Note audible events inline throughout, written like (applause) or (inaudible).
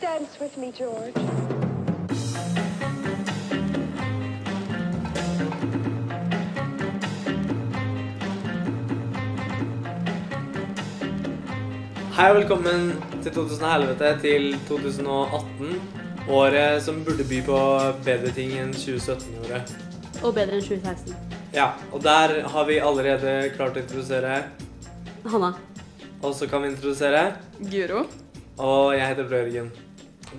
dance with me, George? Hei og velkommen til 2011, til 2018. Året som burde by på bedre ting enn 2017-året. Og bedre enn 2016. Ja, og der har vi allerede klart å introdusere. Hanna. Og så kan vi introdusere. Guro. Og jeg heter Brørgen.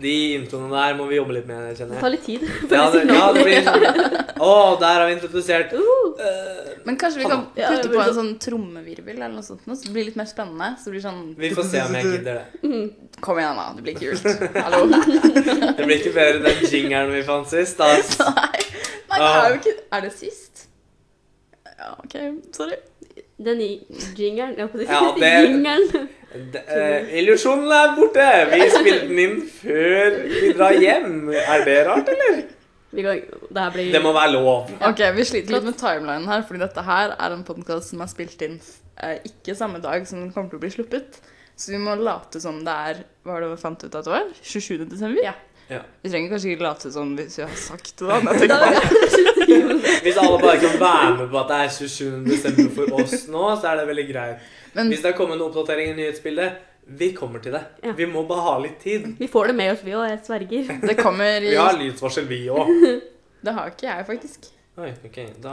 De introene der må vi jobbe litt med, Det kjenner jeg. tar litt tid. Ja, det, ja, det (laughs) blir Å, der har vi introdusert. Uh, Eh, Men kanskje vi kan Ja, det putte blir på en så- sånn trommevirvel eller noe sånt, nå, så det blir litt mer spennende. Så det blir sånn Vi får se om jeg gidder det. Kom igjen, da. Det blir kult. (laughs) Hallo. (laughs) Nei, Det blir ikke bedre enn den jingeren vi fant sist. Da. det er jo ikke Er det sist? Ja, OK. Sorry. Den i jingeren. Ja, på (laughs) Ja, det- jingeren. Det- eh, Illusjonen er borte! Vi spilte den inn før vi drar hjem. Er det rart, eller? Vi kan, det her blir Det må være lov. Ok, Vi sliter litt med timelinen her, fordi dette her er en podkast som er spilt inn eh, ikke samme dag som den kommer til å bli sluppet. Så vi må late som det er Hva var det vi fant ut at det var? 27. desember? Ja. Ja. Vi trenger kanskje ikke late som hvis vi har sagt det, da. men jeg (laughs) Da- tenker bare- Hvis alle bare kan være med på at det er 27. desember for oss nå, så er det veldig greit. Men Hvis det er kommet en oppdatering i nyhetsbildet, vi kommer til det. Ja. Vi må bare ha litt tid. Vi får det med oss, vi òg. Jeg sverger. det kommer i Vi har lydsvarsel, vi òg. Det har ikke jeg, faktisk. Har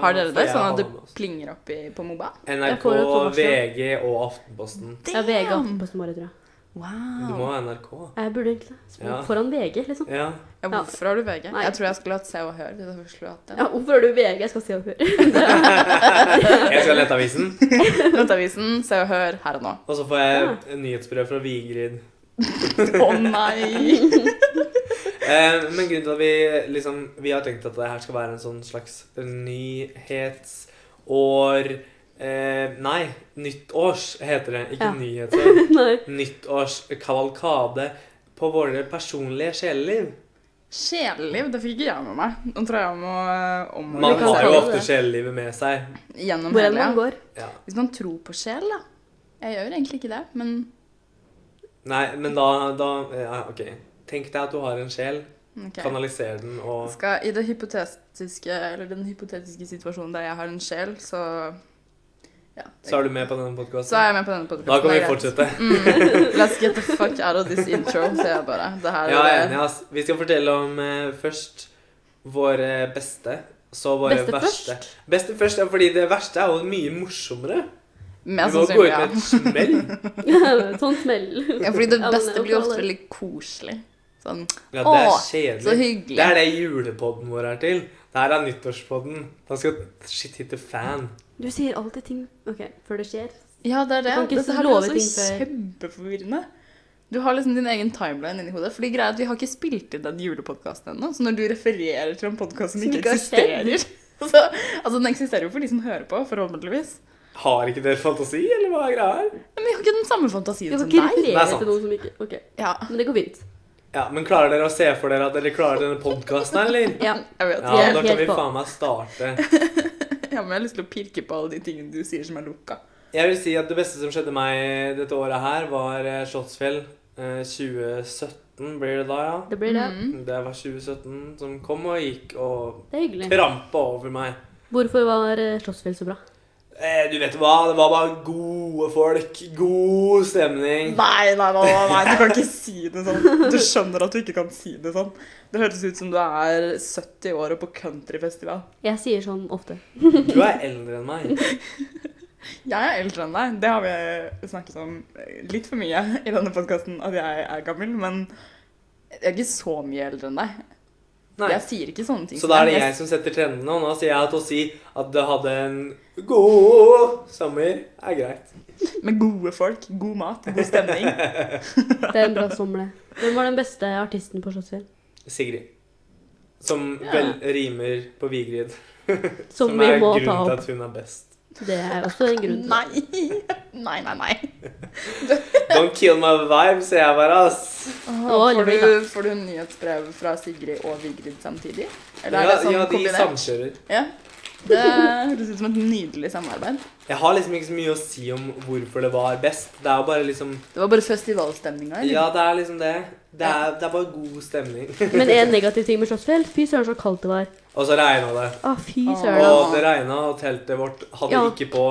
Har dere det? Sånn at det plinger opp i, på moba? Jeg NRK, får det på varsel. VG og Aftenposten. Jeg er VG Aftenposten vår, tror jeg. Du må Wow. ha NRK. Jeg burde egentlig det. Sp- Ja. Foran VG, liksom. Ja. (laughs) Ja, hvorfor har du VG? Nei. Jeg tror jeg skulle hatt Se og Hør. hvis jeg først skulle hatt det. (laughs) Ja, hvorfor har du VG? Jeg skal se og høre. (laughs) Jeg skal lette avisen, Nettavisen, Se og Hør her og (laughs) nå. og så får jeg Ah. en nyhetsbrev fra Vigrid. Å nei! Eh, men grunnen til at vi liksom Vi har tenkt at det her skal være en sånn slags nyhetsår eh, Nei, nyttårs heter det, ikke Ja. (laughs) nyhetsår. Nei. Nyttårskavalkade på våre personlige sjeleliv. Sjeleliv, det fikk ikke jeg med meg. Nå tror jeg jeg må eh, Man har kan omorganisere jo kalle ofte det. sjelelivet med seg. gjennom Hvor enn hele. man ja. går. Ja. Hvis man tror på sjel, da. Jeg gjør egentlig ikke det, men Nei, men da, da ja, OK. Tenk deg at du har en sjel. ok. Kanaliser den og Skal, I det hypotetiske, eller den hypotetiske situasjonen der jeg har en sjel, så ja, det- Så er du med på denne så er podkasten. jeg med på denne podcasten. Da kan det vi er greit. fortsette. Mm. Let's get the fuck out of this intro, sier jeg bare. Det her Ja, jeg er er enig, ass. Vi skal fortelle om eh, først våre beste, så våre Beste verste. først. (laughs) Beste først, ja, fordi det verste er jo mye morsommere. Vi mest må gå ut sannsynlig ja. med et (laughs) smell. sånn (laughs) smell. ja. Fordi det Ja, men det beste er blir jo ofte alle. veldig koselig. Sånn Ja, det er Åh, så kjedelig. Det hyggelig. er det julepodden vår er til. Det her er nyttårspodden. Da skal shit hit the fan. Du sier alltid ting OK, før det skjer. Ja, det er det. Du kan ikke Dette her love blir ting også før. kjempeforvirrende. Du har liksom din egen timeline inni hodet. Fordi greia er at vi har ikke spilt inn den julepodkasten ennå. Så når du refererer til en podkast som Som ikke ikke har skjedd. eksisterer (laughs) så, Altså, den eksisterer jo for de som hører på, forhåpentligvis. Har ikke dere fantasi, eller hva er greia her? Men vi har ikke den samme Du fantasien kan som ikke deg. Det er referere sant. til noen som ikke OK. Ja, (laughs) Men det går fint. Ja, men klarer dere å se for dere at dere klarer denne podkasten, (laughs) eller? Ja. jeg vet. Ja, er da kan helt vi på. faen meg starte. Ja, men jeg har lyst til å pirke på alle de tingene du sier som er lukka. Jeg vil si at det beste som skjedde meg dette året her, var eh, Slottsfjell. Eh, 2017 blir det da, ja. Det blir det. Mhm. Det var 2017 som kom og gikk og Det er hyggelig. trampa over meg. Hvorfor var eh, Slottsfjell så bra? Eh, du vet hva, det var bare gode folk. God stemning. Nei, nei, nei, nei, nei, du kan ikke si det sånn. Du skjønner at du ikke kan si det sånn. Det høres ut som du er 70 år og på countryfestival. Jeg sier sånn ofte. Du er eldre enn meg. Jeg er eldre enn deg. Det har vi snakket om litt for mye i denne podkasten, at jeg er gammel. Men jeg er ikke så mye eldre enn deg. Nei. Jeg sier ikke sånne ting. Så da er det jeg som setter trendene, og nå sier jeg at å si at det hadde en god sommer, er greit. Med gode folk, god mat, god (laughs) stemning. Det er en bra sommer, det. Hvem var den beste artisten på Slottsfjell? Sigrid. Som Ja. vel rimer på Vigrid. Som, vi er må grunnen ta til opp. at hun er best. Det er også en grunn til det. Nei! Nei, nei, nei. Don't kill my vibe, sier jeg bare, ass. Å, får, Ulrik, du, får du nyhetsbrev fra Sigrid og Vigrid samtidig? Eller er det sånn ja, ja, de kombinert? samkjører. Ja. Det høres ut som et nydelig samarbeid. Jeg har liksom ikke så mye å si om hvorfor det var best. Det er jo bare liksom Det var bare festivalstemninga. eller? Ja, det er liksom det. Det er, det er bare god stemning. (laughs) Men en negativ ting med Slottsfjell Fy søren, så kaldt det var. Og så regna det. Å, fy Åh. søren. Og det regna, og teltet vårt hadde Ja. ikke på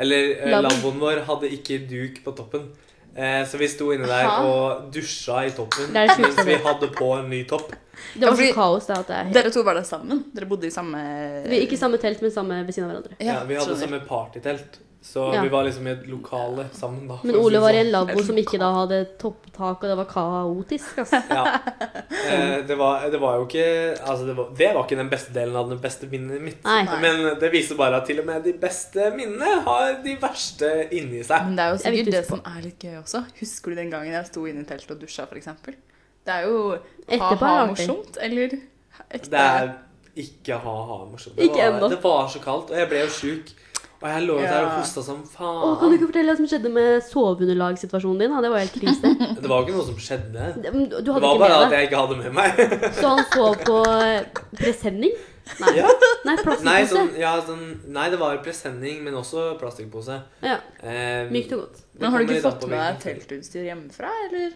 Eller eh, Labb. lavvoen vår hadde ikke duk på toppen. Eh, så vi sto inne der Aha. og dusja i toppen Det er det sjukeste mens vi jeg vet. hadde på en ny topp. Det var så fordi- kaos da at det er helt Dere to var der sammen? Dere bodde i samme vi, Ikke samme telt, men samme ved siden av hverandre. Ja, vi hadde skjønner. samme partytelt, så Ja. vi var liksom i et lokale sammen. da. Men for å si Ole det var i en sånn. lavvo som ikke da hadde topptak, og det var kaotisk. ass. Ja. Eh, det, var, det var jo ikke Altså, det var, det var ikke den beste delen av det beste minnet mitt. Nei. Nei. Men det viser bare at til og med de beste minnene har de verste inni seg. Men det er jo er sikkert viktig å det huske som er litt gøy også. Husker du den gangen jeg sto inne i teltet og dusja, f.eks.? Det er jo Etterpå ha-ha er det artig. morsomt, eller ekte Det er ikke ha-ha morsomt. Det Ikke var- ennå. Det var så kaldt, og jeg ble jo sjuk. Og jeg lå Ja. der og hosta som Å, kan du faen. ikke fortelle hva som skjedde med soveunderlagssituasjonen din? da? Det var helt (laughs) krise. Det var jo ikke noe som skjedde. Det- men Du Det hadde var ikke bare at med deg. jeg ikke hadde med meg. Så han så på eh, presenning? Nei, (laughs) Ja. Nei Nei, plastpose. sånn, ja, sånn, nei, det var presenning, men også plastikkpose. Ja, Eh, mykt og godt. det Men har du kommer ikke litt an fått på med deg hvilken- teltutstyr hjemmefra, eller?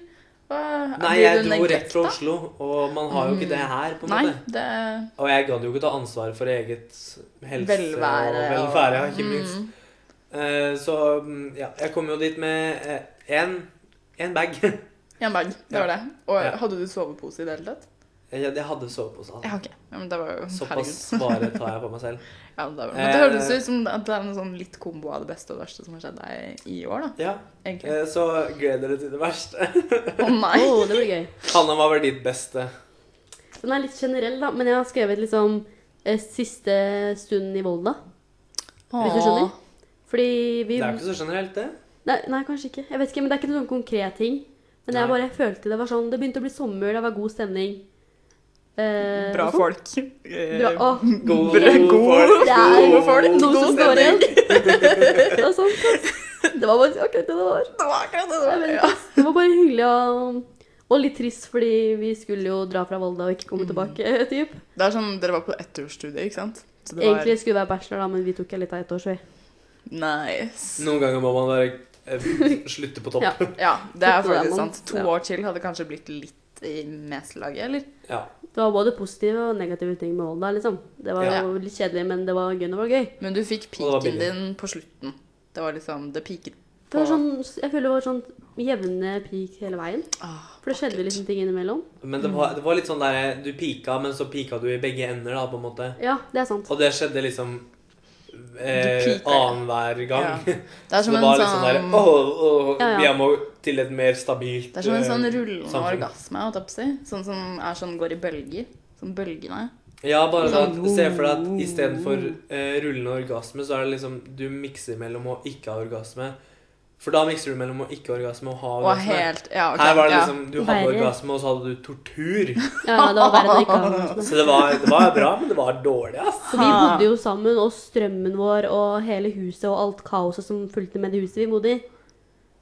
Hva- Nei, blir jeg du dro neglect, rett fra da? Oslo, og man har jo ikke det her, på en Nei, måte. det Og jeg gadd jo ikke ta ansvar for eget helse Velvære og og- Mm. velfære, ja, ikke minst. Eh, så mm, ja, jeg kom jo dit med én bag. (laughs) En bag, det var det. Og Ja. hadde du sovepose i det hele tatt? jeg, jeg hadde sovepose. Altså. Ja, ok. Ja, men det var jo Såpass Herregud. bare tar jeg på (laughs) meg selv. Ja, det, var, men det Eh, høres ut som at det er en sånn litt kombo av det beste og det verste som har skjedd deg i år, da. Ja, Egentlig. eh, Så gled dere til det verste. Å nei! Å, det blir gøy. Hanna, hva var ditt beste? Den er litt generell, da, men jeg har skrevet liksom eh, siste stunden i Volda. Hvis du skjønner? Fordi vi Det er jo ikke så generelt, det. nei, nei, kanskje ikke. Jeg vet ikke, men Det er ikke noen sånn konkret ting. Men jeg Nei. bare følte det var sånn Det begynte å bli sommer, det var god stemning. Eh, Bra og sånn. folk. (laughs) Bra, Eh, å, (laughs) God, Bra- god- det er Gode folk, noe som god står igjen. stemning. (laughs) Det var sånn, ass. Det var bare akkurat det det var. Det var akkurat det det Jeg var. vet Ja. ikke, ass. Det var bare hyggelig og, og litt trist, fordi vi skulle jo dra fra Volda og ikke komme tilbake. Typ. Mm. Det er sånn, Dere var på ettårsstudie, ikke sant? Så det var Egentlig skulle vi være bachelor, da, men vi tok litt av ett år, så vi nice. Noen ganger må man bare eh, slutte på topp. Ja. Ja, det er Slutt med faktisk det, mann. sant. To Ja. år til hadde kanskje blitt litt i meslaget, eller? Ja. Det var både positive og negative ting med Volda, liksom. Det var Ja. jo litt kjedelig, men det var gøy når det var gøy. Men du fikk Og det var piken billig. din på slutten. Det var liksom Det piket Det var sånn, jeg føler det var sånn jevne peak hele veien. ah, For det skjedde vakkert. liksom ting innimellom. Men det var, det var litt sånn der Du pika, men så pika du i begge ender, da, på en måte. Ja, det er sant. Og det skjedde liksom Du eh, pika, ja. annenhver gang. Ja. (laughs) Det er Så som det en var litt sånn der sånn Åh, åh, Ja, ja. jeg må til et mer stabilt Det er som en sånn eh, rullende samfunn. orgasme, holdt jeg på å si. Sånn som er sånn, går i bølger. Sånn bølgene. Ja, bare det at Sånn, oh. se for deg at istedenfor eh, rullende orgasme, så er det liksom Du mikser mellom å ikke ha orgasme. For da mikser du mellom å ikke ha orgasme og ha Og orgasme. helt Ja, ok. Her var det ja. liksom Du hadde Verre. orgasme, og så hadde du tortur. Ja, ja, det var verre enn ikke å ha noe sånt. Så det var, det var bra, men det var dårlig, ass. Og vi bodde jo sammen, og strømmen vår og hele huset og alt kaoset som fulgte med det huset vi bodde i.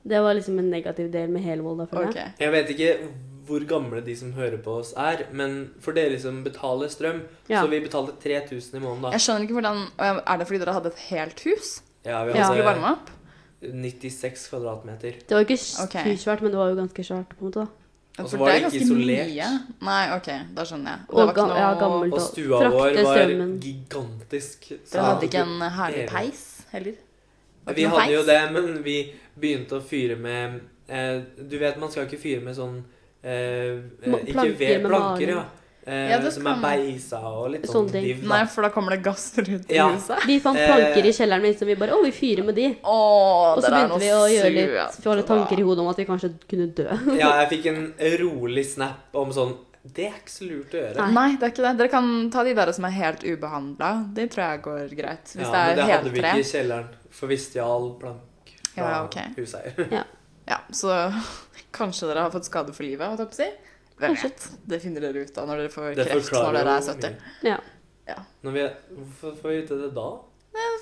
Det var liksom en negativ del med hele Volda, føler jeg. Ok. Jeg vet ikke hvor gamle de som hører på oss er, men for dere som betaler strøm Ja. Så vi betalte 3000 i måneden, da. Jeg skjønner ikke hvordan Er det fordi dere hadde et helt hus? Ja, vi Dere skulle hadde varme opp? 96 kvadratmeter. Det var ikke Ok. styrsvært, men det var jo ganske svært, på en måte. da. Og så For var det er ikke ganske isolert. mye. Nei, OK, da skjønner jeg. Og ga- ja, gammel. Og Da stua frakte vår var strømmen. gigantisk. så- Dere hadde ikke en herlig Hele. peis heller? Var Vi ikke noe hadde jo peis? det, men vi begynte å fyre med eh, Du vet man skal ikke fyre med sånn eh, eh, Ma- Ikke planker ved med planker, maling. ja. Eh, Ja, det som skal er man. beisa og litt sånn Sånne ting. div, Nei, da. for da kommer det gass rundt Ja. i huset. Vi fant Eh. planker i kjelleren min, så vi bare Å, vi fyrer med de. Å, Og så dere begynte er noe altså, vi å gjøre litt søte, Vi hadde tanker da. i hodet om at vi kanskje kunne dø. Ja, jeg fikk en rolig snap om sånn Det er ikke så lurt å gjøre. Nei, det er ikke det. Dere kan ta de der som er helt ubehandla. De tror jeg går greit. Hvis Ja, det men er det hadde vi heltre. ikke i kjelleren, for vi stjal plank fra Ja, ok. (laughs) huseier. Ja, så (laughs) kanskje dere har fått skade for livet, holdt jeg på å si. Hvem vet. Det finner dere ut av når dere får Det kreft når forklarer dere er jo 70. mye. Ja. Når vi, hvorfor får vi vite det da?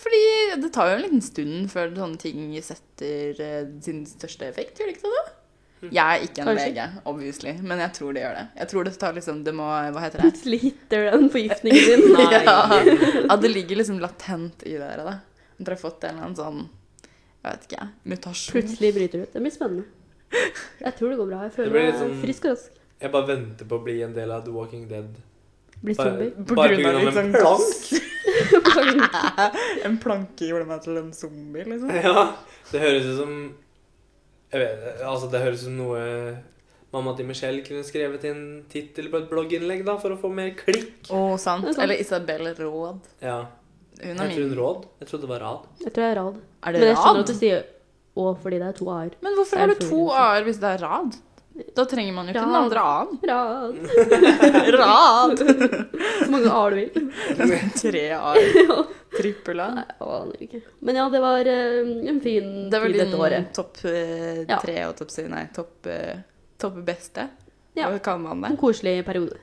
Fordi det tar jo en liten stund før sånne ting setter eh, sin største effekt, gjør det ikke det? da? Hm. Jeg er ikke en Kanskje. lege, obviously, men jeg tror det gjør det. Jeg tror det tar liksom Det må Hva heter det? Plutselig hitter den forgiftningen (laughs) din. Nei. Ja. At det ligger liksom latent i dere, da. At dere har fått en eller annen sånn Jeg vet ikke, jeg, mutasjon. Plutselig bryter det ut. Det blir spennende. Jeg tror det går bra. Jeg føler Det blir meg litt sånn- frisk og rask. Jeg bare venter på å bli en del av The Walking Dead. (laughs) Blir Bare, (laughs) zombie. På bare grunn av pga. en litt sånn plank? (laughs) En planke gjorde meg til en zombie, liksom. Ja. Det høres ut som Jeg vet det, Altså, det høres ut som noe mamma til Michelle kunne skrevet i en tittel på et blogginnlegg, da, for å få mer klikk. Å, sant. Det er sant. Eller Isabel Råd. Ja. Hun er Heter hun min. Råd? Jeg trodde det var Rad. Jeg tror jeg er rad. Er Men det jeg skjønner Rad? at du sier å fordi det er to (laughs) a-er. Men hvorfor Det er har du en to forlydelse. a-er hvis det er Rad? Da trenger man jo ikke den Rad. andre a-en. Rad. (laughs) Rad! Så mange a-er du (laughs) vil. Tre a-er. Ja. Trippel a. Nei, jeg aner ikke. Men ja, det var eh, en fin Det var tid dette din året. topp eh, Ja. tre og topp si- nei, topp, eh, topp beste. Ja. Hva kaller man det? En koselig periode.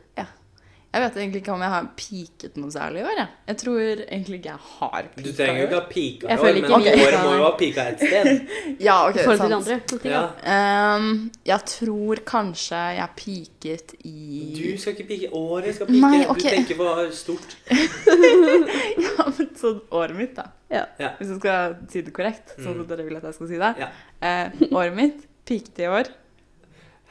Jeg vet egentlig ikke om jeg har piket noe særlig i år. Jeg, jeg tror egentlig ikke jeg har Du piket. trenger jo i ikke ha pika i Jeg år. år, føler men ikke vi- året må jo ha pika et sted. (laughs) Ja, ok, I forhold til de sant. andre. Så tenker jeg, Ja. Ehm, jeg tror kanskje jeg piket Du i skal ikke pike. Året skal pike. Nei, ok. Du tenker på stort. (laughs) Ja, men sånn året mitt, da. Ja. Ja. Hvis jeg skal si det korrekt, sånn som Mm. dere vil at jeg skal si det. Ja. Eh, året mitt piket i år.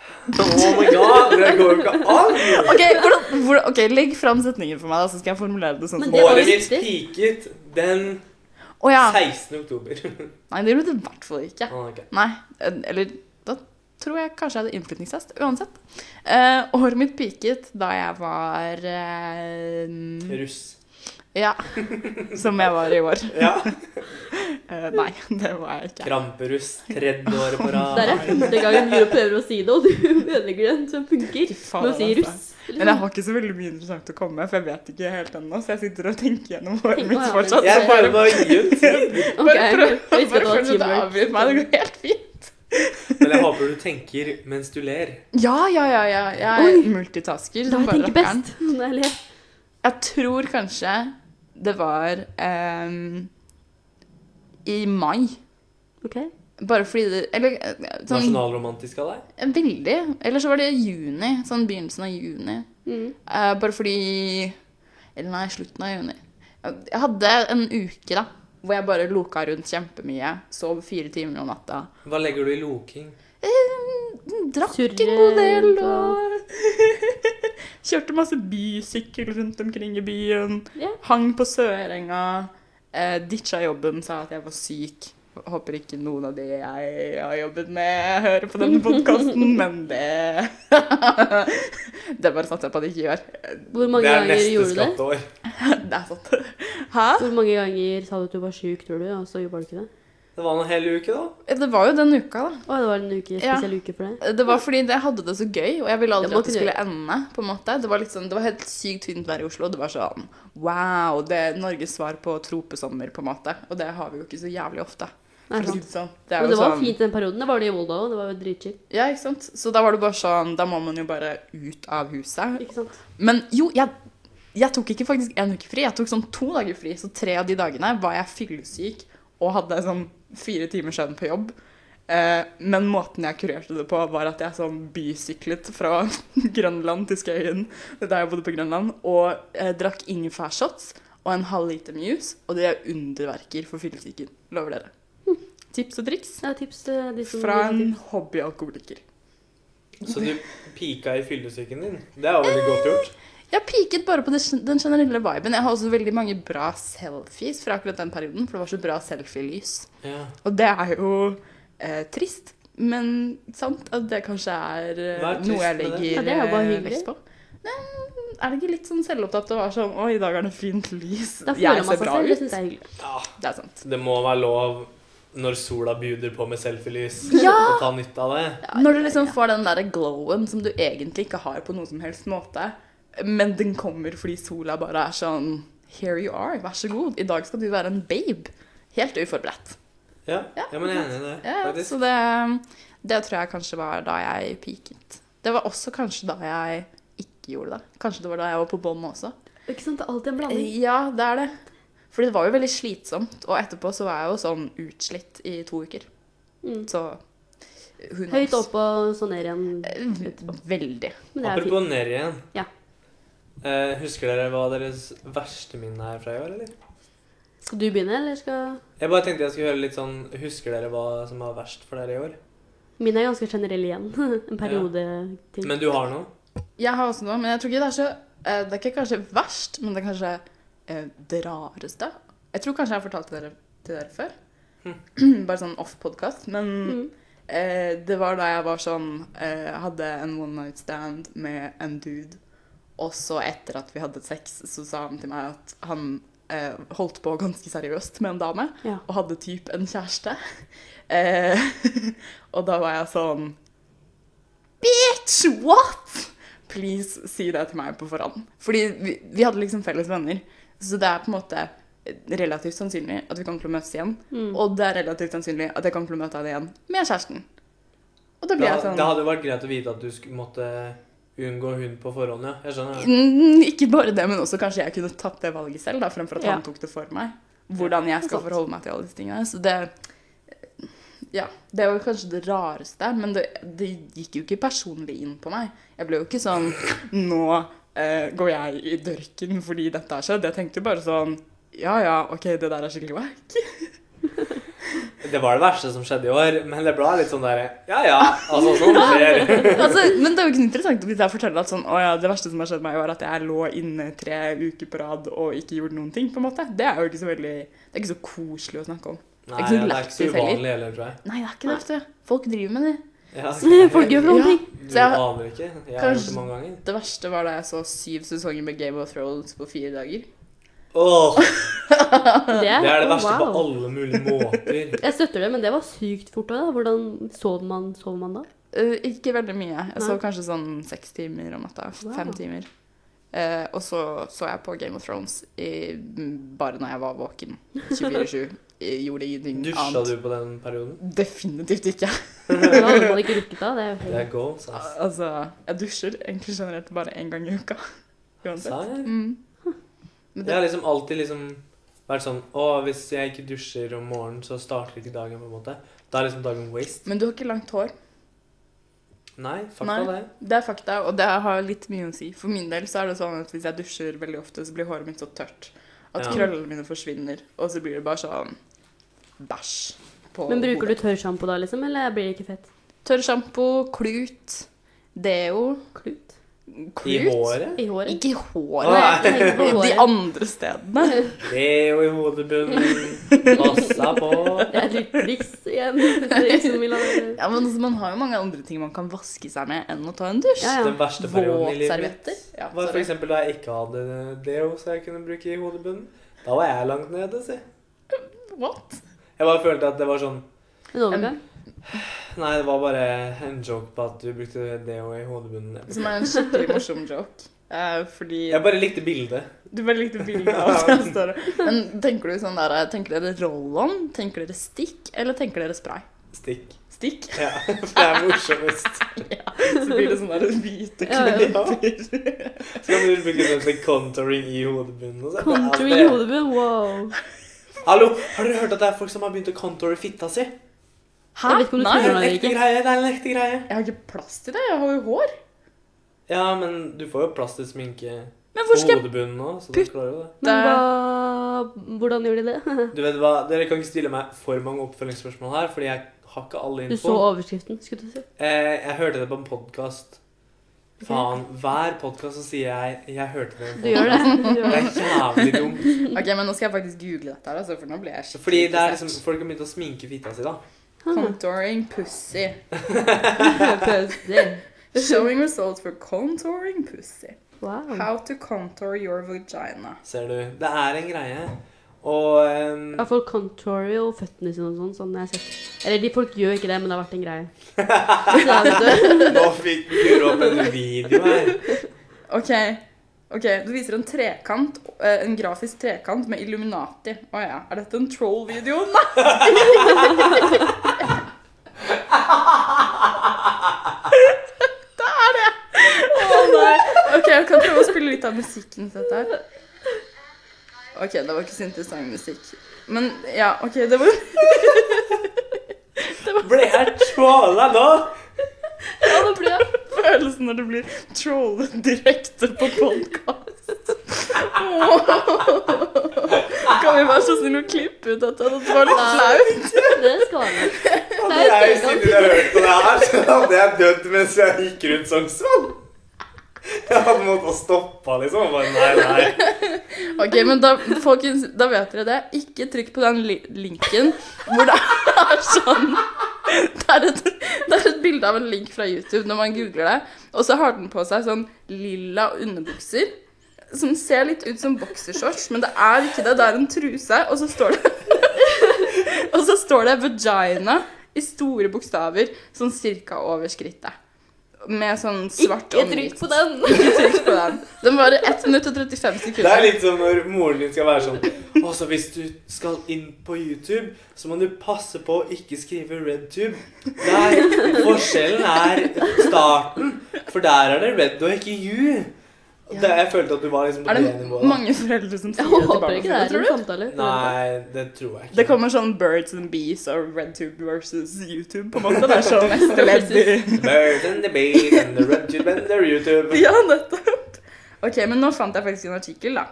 Oh my god, det går jo ikke an! OK, hvordan, hvordan, ok, legg fram setningen for meg, da, så skal jeg formulere det sånn. Men som det var Året jo mitt riktig. piket den Å ja. 16. oktober. Nei, det gjorde det i hvert fall ikke. Ah, ok. Nei, eller da tror jeg kanskje jeg hadde innflytningsfest. Uansett. Eh, håret mitt piket da jeg var eh, Russ. Ja. Som jeg var i år. Ja. Eh, nei, (laughs) det var jeg ikke. Kramperuss tredje året på rad. Der er femte gangen du prøver å si det, og du (laughs) ødelegger den som funker. Fy faen, Med å si altså. russ. Men jeg har ikke så veldig mye interessant å komme med, for jeg vet ikke helt ennå. Så jeg sitter og tenker gjennom håret Tenk, mitt å ja, fortsatt. Jeg så prøver bare å gi ut tid. Ok, bare prøv vi skal bare ta prøv ikke å teamwork. avbryte meg. Det går helt fint. Men jeg håper du tenker mens du ler. Ja, ja, ja. ja. Jeg Oi. er Da multitasker. som jeg bare tenker rakkeren. best. Når jeg ler. Jeg tror kanskje det var ehm, i mai. Ok. Bare fordi det Eller eh, sånn Nasjonalromantisk av deg. veldig. Eller så var det i juni. Sånn begynnelsen av juni. Mm. Eh, bare fordi Eller nei, slutten av juni. Jeg hadde en uke da, hvor jeg bare loka rundt kjempemye. Sov fire timer om natta. Hva legger du i loking? Eh, drakk en Surret god del og (laughs) og- Kjørte masse bysykkel rundt omkring i byen. Ja. Hang på Sørenga. Eh, ditcha jobben, sa at jeg var syk. Håper ikke noen av de jeg har jobbet med, hører på denne podkasten, (laughs) men det (laughs) Det bare satser jeg på at de ikke gjør. Hvor mange det er ganger neste gjorde du det? skatteår. Det er sant. Hæ? Hvor mange ganger sa du at du var syk, tror du, og så gjorde du ikke det? Det var nå hele uke, da. Det var jo den uka, da. Å, det var en uke, Ja. spesiell uke for deg. Det var fordi jeg hadde det så gøy, og jeg ville aldri Det må at det kunne skulle ende. på en måte. Det var, liksom, det var helt sykt fint vær i Oslo. Det var sånn wow, det er Norges svar på tropesommer, på en måte. Og det har vi jo ikke så jævlig ofte. Nei, For å si sant. det sånn. Det er Men jo det var sånn, fint den perioden. Det var det i Volda òg. Det var jo dritchill. Ja, ikke sant? Så da var det bare sånn Da må man jo bare ut av huset. Ikke sant? Men jo, jeg, jeg tok ikke faktisk en uke fri. Jeg tok sånn to dager fri. Så tre av de dagene var jeg fyllesyk og hadde sånn fire timer søvn på jobb. Eh, men måten jeg kurerte det på, var at jeg sånn bysyklet fra (laughs) Grønland til Skøyen, der jeg bodde på Grønland, og eh, drakk ingefærshots og en halv liter med juice. Og det er underverker for fyllesyken. Lover dere. Tips og triks Det er tips til de som fra liker en tips. hobbyalkoholiker. Så du pika i fyllesyken din. Det er jo veldig godt gjort. Jeg piket bare på det, gen- den generelle viben. Jeg har også veldig mange bra selfies fra akkurat den perioden, for det var så bra selfielys. Ja. Og det er jo eh, trist, men sant at det kanskje er, eh, Hva er trist noe jeg med det? legger Ja, det er jo bare eh, hyggelig. vekt på. Men er det ikke litt sånn selvopptatt å være sånn Oi, i dag er det fint lys. Da føler man Jeg ser seg bra selv. Det ut. syns jeg er hyggelig. ja. Det er sant. Det må være lov når sola bjuder på med selfielys, Ja! å ta nytte av det. Når du liksom får den der glowen som du egentlig ikke har på noen som helst måte, men den kommer fordi sola bare er sånn Here you are, vær så god. I dag skal du være en babe. Helt uforberedt. Ja, Ja, ja men jeg er enig i det. Ja, faktisk. så det, um, det tror jeg kanskje var da jeg peaket. Det var også kanskje da jeg ikke gjorde det. Kanskje det var da jeg var på bånn også. Ikke sant? Det er alltid en blanding. Ja, det er det. Fordi det var jo veldig slitsomt, og etterpå så var jeg jo sånn utslitt i to uker. Mm. Så Who knows? Høyt opp og så ned igjen. Eh, Men det Veldig. er fint. Apropos ned igjen. Ja. Eh, husker dere hva deres verste minne er fra i år, eller? Skal du begynne, eller skal Jeg bare tenkte jeg skulle høre litt sånn Husker dere hva som var verst for dere i år? Min er ganske generell igjen. (laughs) en periode til. Men du har noe? Jeg har også noe, men jeg tror ikke det er så eh, Det er ikke kanskje verst, men det er kanskje eh, det rareste. Jeg tror kanskje jeg har fortalt det dere, til dere før. (clears throat) Bare sånn off-podkast. Men Mm. eh, det var da jeg var sånn eh, Hadde en one night stand med en dude. Og så etter at vi hadde sex, så sa han til meg at han eh, holdt på ganske seriøst med en dame. Ja. Og hadde typ en kjæreste. Eh, (laughs) og da var jeg sånn Bitch, what?! Please, si det til meg på forhånd. Fordi vi, vi hadde liksom felles venner. Så det er på en måte relativt sannsynlig at vi kommer til å møtes igjen. Mm. Og det er relativt sannsynlig at jeg kommer til å møte deg igjen med kjæresten. Og da Det, ble jeg sånn det hadde jo vært greit å vite at du skulle, måtte unngå hun på forhånd, ja. Jeg skjønner. Mm, Ikke bare det, men også kanskje jeg kunne tatt det valget selv, da, fremfor at Ja. han tok det for meg. Hvordan jeg skal Sant. forholde meg til alle disse tingene. Så det eh, Ja. Det var kanskje det rareste, men det, det gikk jo ikke personlig inn på meg. Jeg ble jo ikke sånn Nå eh, går jeg i dørken fordi dette har skjedd. Jeg tenkte jo bare sånn Ja ja, OK, det der er skikkelig wack. Det var det verste som skjedde i år, men det ble litt sånn derre Ja ja, altså (laughs) sånn skjer. altså, men det er jo ikke noe interessant hvis jeg forteller at sånn, å ja, det verste som har skjedd meg, var at jeg lå inne tre uker på rad og ikke gjorde noen ting. på en måte. Det er jo ikke så veldig, det er ikke så koselig å snakke om. Nei, det ikke er ikke så lættis heller. uvanlig heller, tror jeg. Nei, det er ikke det. vet du. Folk driver med det. Ja, (laughs) (laughs) Folk gjør for noen ting. Du Så jeg- aner ikke. Jeg har gjort Kanskje- det mange ganger. Det verste var da jeg så syv sesonger med Game of Thrones på fire dager. Åh, Det det er det oh, verste på wow. alle mulige (laughs) måter. Jeg støtter det, men det var sykt fort òg. Hvordan sov man, sov man da? Eh, ikke veldig mye. Jeg Nei. sov kanskje sånn seks timer om natta. f- Wow. Fem timer. Eh, og så så jeg på Game of Thrones i, bare når jeg var (laughs) våken. 24-7. Jeg Gjorde ingenting Dusja du på den perioden? Definitivt ikke. Da hadde man ikke rukket da. Det er jo Det er helt goals, ass. Al- Altså, jeg dusjer egentlig generelt bare én gang i uka. (laughs) Uansett. Serr? Mm. Jeg Men det, har liksom alltid liksom vært sånn Å, hvis jeg ikke dusjer om morgenen, så starter ikke dagen, på en måte. Da er liksom dagen waste. men du har ikke langt hår. Nei, fakta Nei. det. Det er fakta, og det har litt mye å si. For min del så er det sånn at hvis jeg dusjer veldig ofte, så blir håret mitt så tørt at Ja. krøllene mine forsvinner, og så blir det bare sånn bæsj på Men bruker du tørrsjampo da, liksom? Eller blir det ikke fett? Tørrsjampo, klut, deo Klut? Klut? I håret? I håret? Ikke i Nei, jeg håret. tenker på De håret. andre stedene. Det er jo i (laughs) hodebunnen. Passa på. Det er litt triks igjen. Det er liksom vi lar- Ja, men altså, Man har jo mange andre ting man kan vaske seg med enn å ta en dusj. Ja, ja. Den verste perioden i livet mitt Våtservietter. Ja, var for eksempel da jeg ikke hadde deo så jeg kunne bruke i hodebunnen. Da var jeg langt nede, si. What? Jeg bare følte at det var sånn En overgang. Nei, det var bare en joke på at du brukte deo i hodebunnen. Som er en skikkelig morsom joke. Eh, fordi Jeg bare likte bildet. Du bare likte (laughs) bildet av det. står det. Men tenker du sånn der Tenker dere roll-on? Tenker dere stikk? Eller tenker dere spray? Stikk. Stikk? Ja, (laughs) for det er morsomst. Så blir det sånne der hvite Ja, ja. klipper. Skal du bruke sånn til contouring i hodebunnen? og sånn? Contour i Altså, hodebunnen, wow. Hallo, har dere hørt at det er folk som har begynt å contoure fitta si? Hæ? Jeg vet ikke om du Nei? Det er tror en det ekte ikke. greie, det er en ekte greie. Jeg har ikke plass til det. Jeg har jo hår. Ja, men du får jo plass til sminke Men på hvor skal jeg hodebunnen nå, så da klarer du det. Men hva Hvordan gjør de det? Du vet hva, dere kan ikke stille meg for mange oppfølgingsspørsmål her, fordi jeg har ikke alle Du info. så overskriften, skulle du si. Eh, jeg hørte det på en podcast. Faen, hver podcast så sier jeg, jeg hørte det. Du gjør det. Du (laughs) gjør Det det. er jævlig (laughs) dumt. Ok, men nå skal jeg faktisk google dette her, altså, for nå ble jeg skikkelig Fordi det er liksom, interessert. folk har begynt å sminke fitta si da. (laughs) Contouring pussy. Pøser. Showing results for contouring pussy. Wow. How to contour your vagina. Ser du? Det er en greie. Og ehm, Ja, folk contourer jo føttene sine og sånn. sånn jeg har sett. Eller de folk gjør ikke det, men det har vært en greie. Så det er vet du. (laughs) nå fikk du opp en video her. Ok. Ok, Du viser en trekant, eh, en grafisk trekant med Illuminati. Å ja. Er dette en troll-video? (laughs) Nei! det er det! Å nei. Ok, jeg kan prøve å spille litt av musikken til dette her. Ok, det var ikke så interessant musikk. Men ja, ok, det var Det Ble jeg tråla nå? Ja, det ble jeg. (laughs) Følelsen når du blir trollet direkte på podkast. Kan vi være så snill å klippe ut dette? Det var litt flaut. Det skal være (laughs) med. Hadde jeg sittet og hørt på det her, så hadde jeg dødd mens jeg gikk rundt Sognsvann. Jeg hadde måttet stoppe, liksom. og Bare, nei, nei. Ok, men da, folkens, da vet dere det. Ikke trykk på den li linken hvor det er sånn det er, et, det er et bilde av en link fra YouTube når man googler det. Og så har den på seg sånn lilla underbukser som ser litt ut som boksershorts, men det er ikke det. Det er en truse, og så står det Og så står det 'vagina' i store bokstaver sånn cirka over skrittet. Med sånn svart Ikke omriss. trykk på den. Ikke trykk på den. Den varer 1 minutt og 35 sekunder. Det er litt som når moren din skal være sånn Altså, hvis du skal inn på YouTube, så må du passe på å ikke skrive RedTube. Der, forskjellen er starten, for der er det Red og ikke You. Og Det, jeg følte at du var liksom på Er det det nivået. da. mange foreldre som sier Jeg det til håper barna ikke det sine, er tror en du? samtale. Nei, det tror jeg ikke. Det kommer sånn Birds and Bees og RedTube versus YouTube på en måte. Det er (laughs) sånn neste ledd i Birds and the bees and the RedTube and the YouTube. (laughs) Ja, nettopp. Ok, men nå fant jeg faktisk en artikkel, da.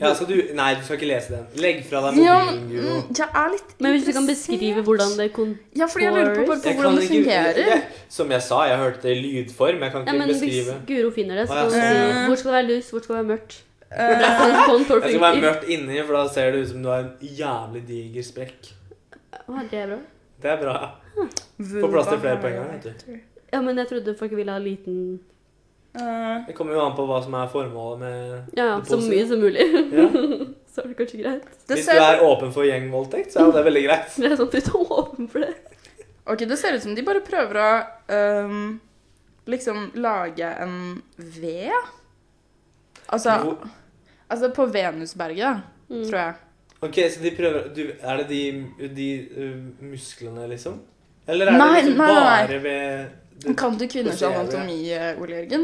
Ja, skal du Nei, du skal ikke lese den. Legg fra deg Ja, mobilen, men Guro. mm, jeg er litt Men hvis du kan interessert. beskrive hvordan det kon... Ja, fordi jeg lurer på, bare på Jeg hvordan kan det ikke- fungerer. jeg- Som jeg sa, jeg hørte det i lydform. Jeg kan Ja, ikke men hvis beskrive. Guro finner det, så Å, ja, kan hun si sånn. hvor skal det være lys, hvor skal det være mørkt. (laughs) Eh, Sånn (laughs) folk Jeg skal være funker. mørkt inni, for da ser det ut som du har en jævlig diger sprekk. Å, det er bra. Det er bra. Får plass til flere på en gang, vet du. Ja, men jeg trodde folk ville ha liten Eh, Det kommer jo an på hva som er formålet med Ja, Det er så mye som mulig. ja. (laughs) Så er det kanskje greit. (laughs) det Hvis du ser, er åpen for gjengvoldtekt, så er jo det veldig greit. Det er sånn at du er så åpen for det. Ok, det ser ut som de bare prøver å ehm, liksom lage en V. Altså, Hvor- altså på Venusberget, da. Mm. tror jeg. Ok, så de prøver du, Er det de, de uh, musklene, liksom? Eller er Nei, det liksom nei, nei, nei. bare ved du, Kan du Mm. Det kvinners ser jeg, anatomi, eh, Ole Jørgen?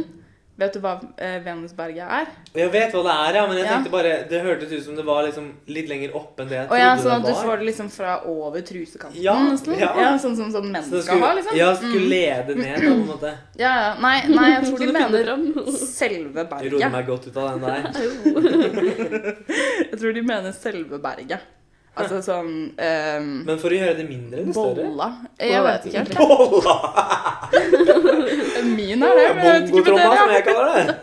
Vet du hva eh, Venusberget er? Jeg vet hva det er, ja, men jeg Ja. tenkte bare Det hørtes ut som det var liksom litt lenger opp enn det jeg Og trodde ja, sånn at du det var. får det liksom fra over trusekanten, Ja, nesten. Ja. ja. sånn som sånn menn Så det skal skulle, ha, liksom. ja, skulle Mm. lede ned, da, på en måte. ja, ja. Nei, nei, (laughs) jeg tror Så de du finner mener fram. selve Jeg rodde berget. meg godt ut av den der. Jeg tror de mener selve berget. Altså sånn ehm, Men for å gjøre det mindre eller større? Bolla? Jeg vet ikke helt. Bolla! Min er det, men jeg vet ikke med Bongotromma, som dere. jeg kaller det.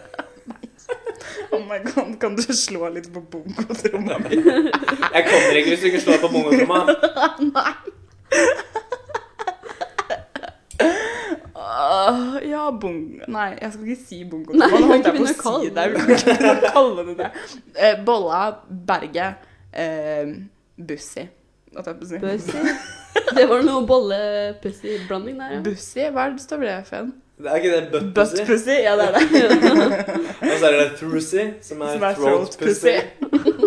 Oh my god, kan du slå litt på bongotromma? Jeg kommer ikke hvis du ikke slår på bongotromma. Åh, ja, bong... Nei, jeg skal ikke si bongo. Nei, Nå jeg holdt jeg på å begynner å kalle si det det. Jeg kan ikke begynne å kalle det det. Eh, bolla, berget, eh, bussi. Hva tar jeg på å si? Pussy. Det var noe bolle-pussy-blanding der, ja. Bussi, hva er det står det for en? Det er ikke det butt Butt pussy? pussy, ja det er det. Og så er det throosy, (laughs) som er, Som er throat, throat pussy. pussy.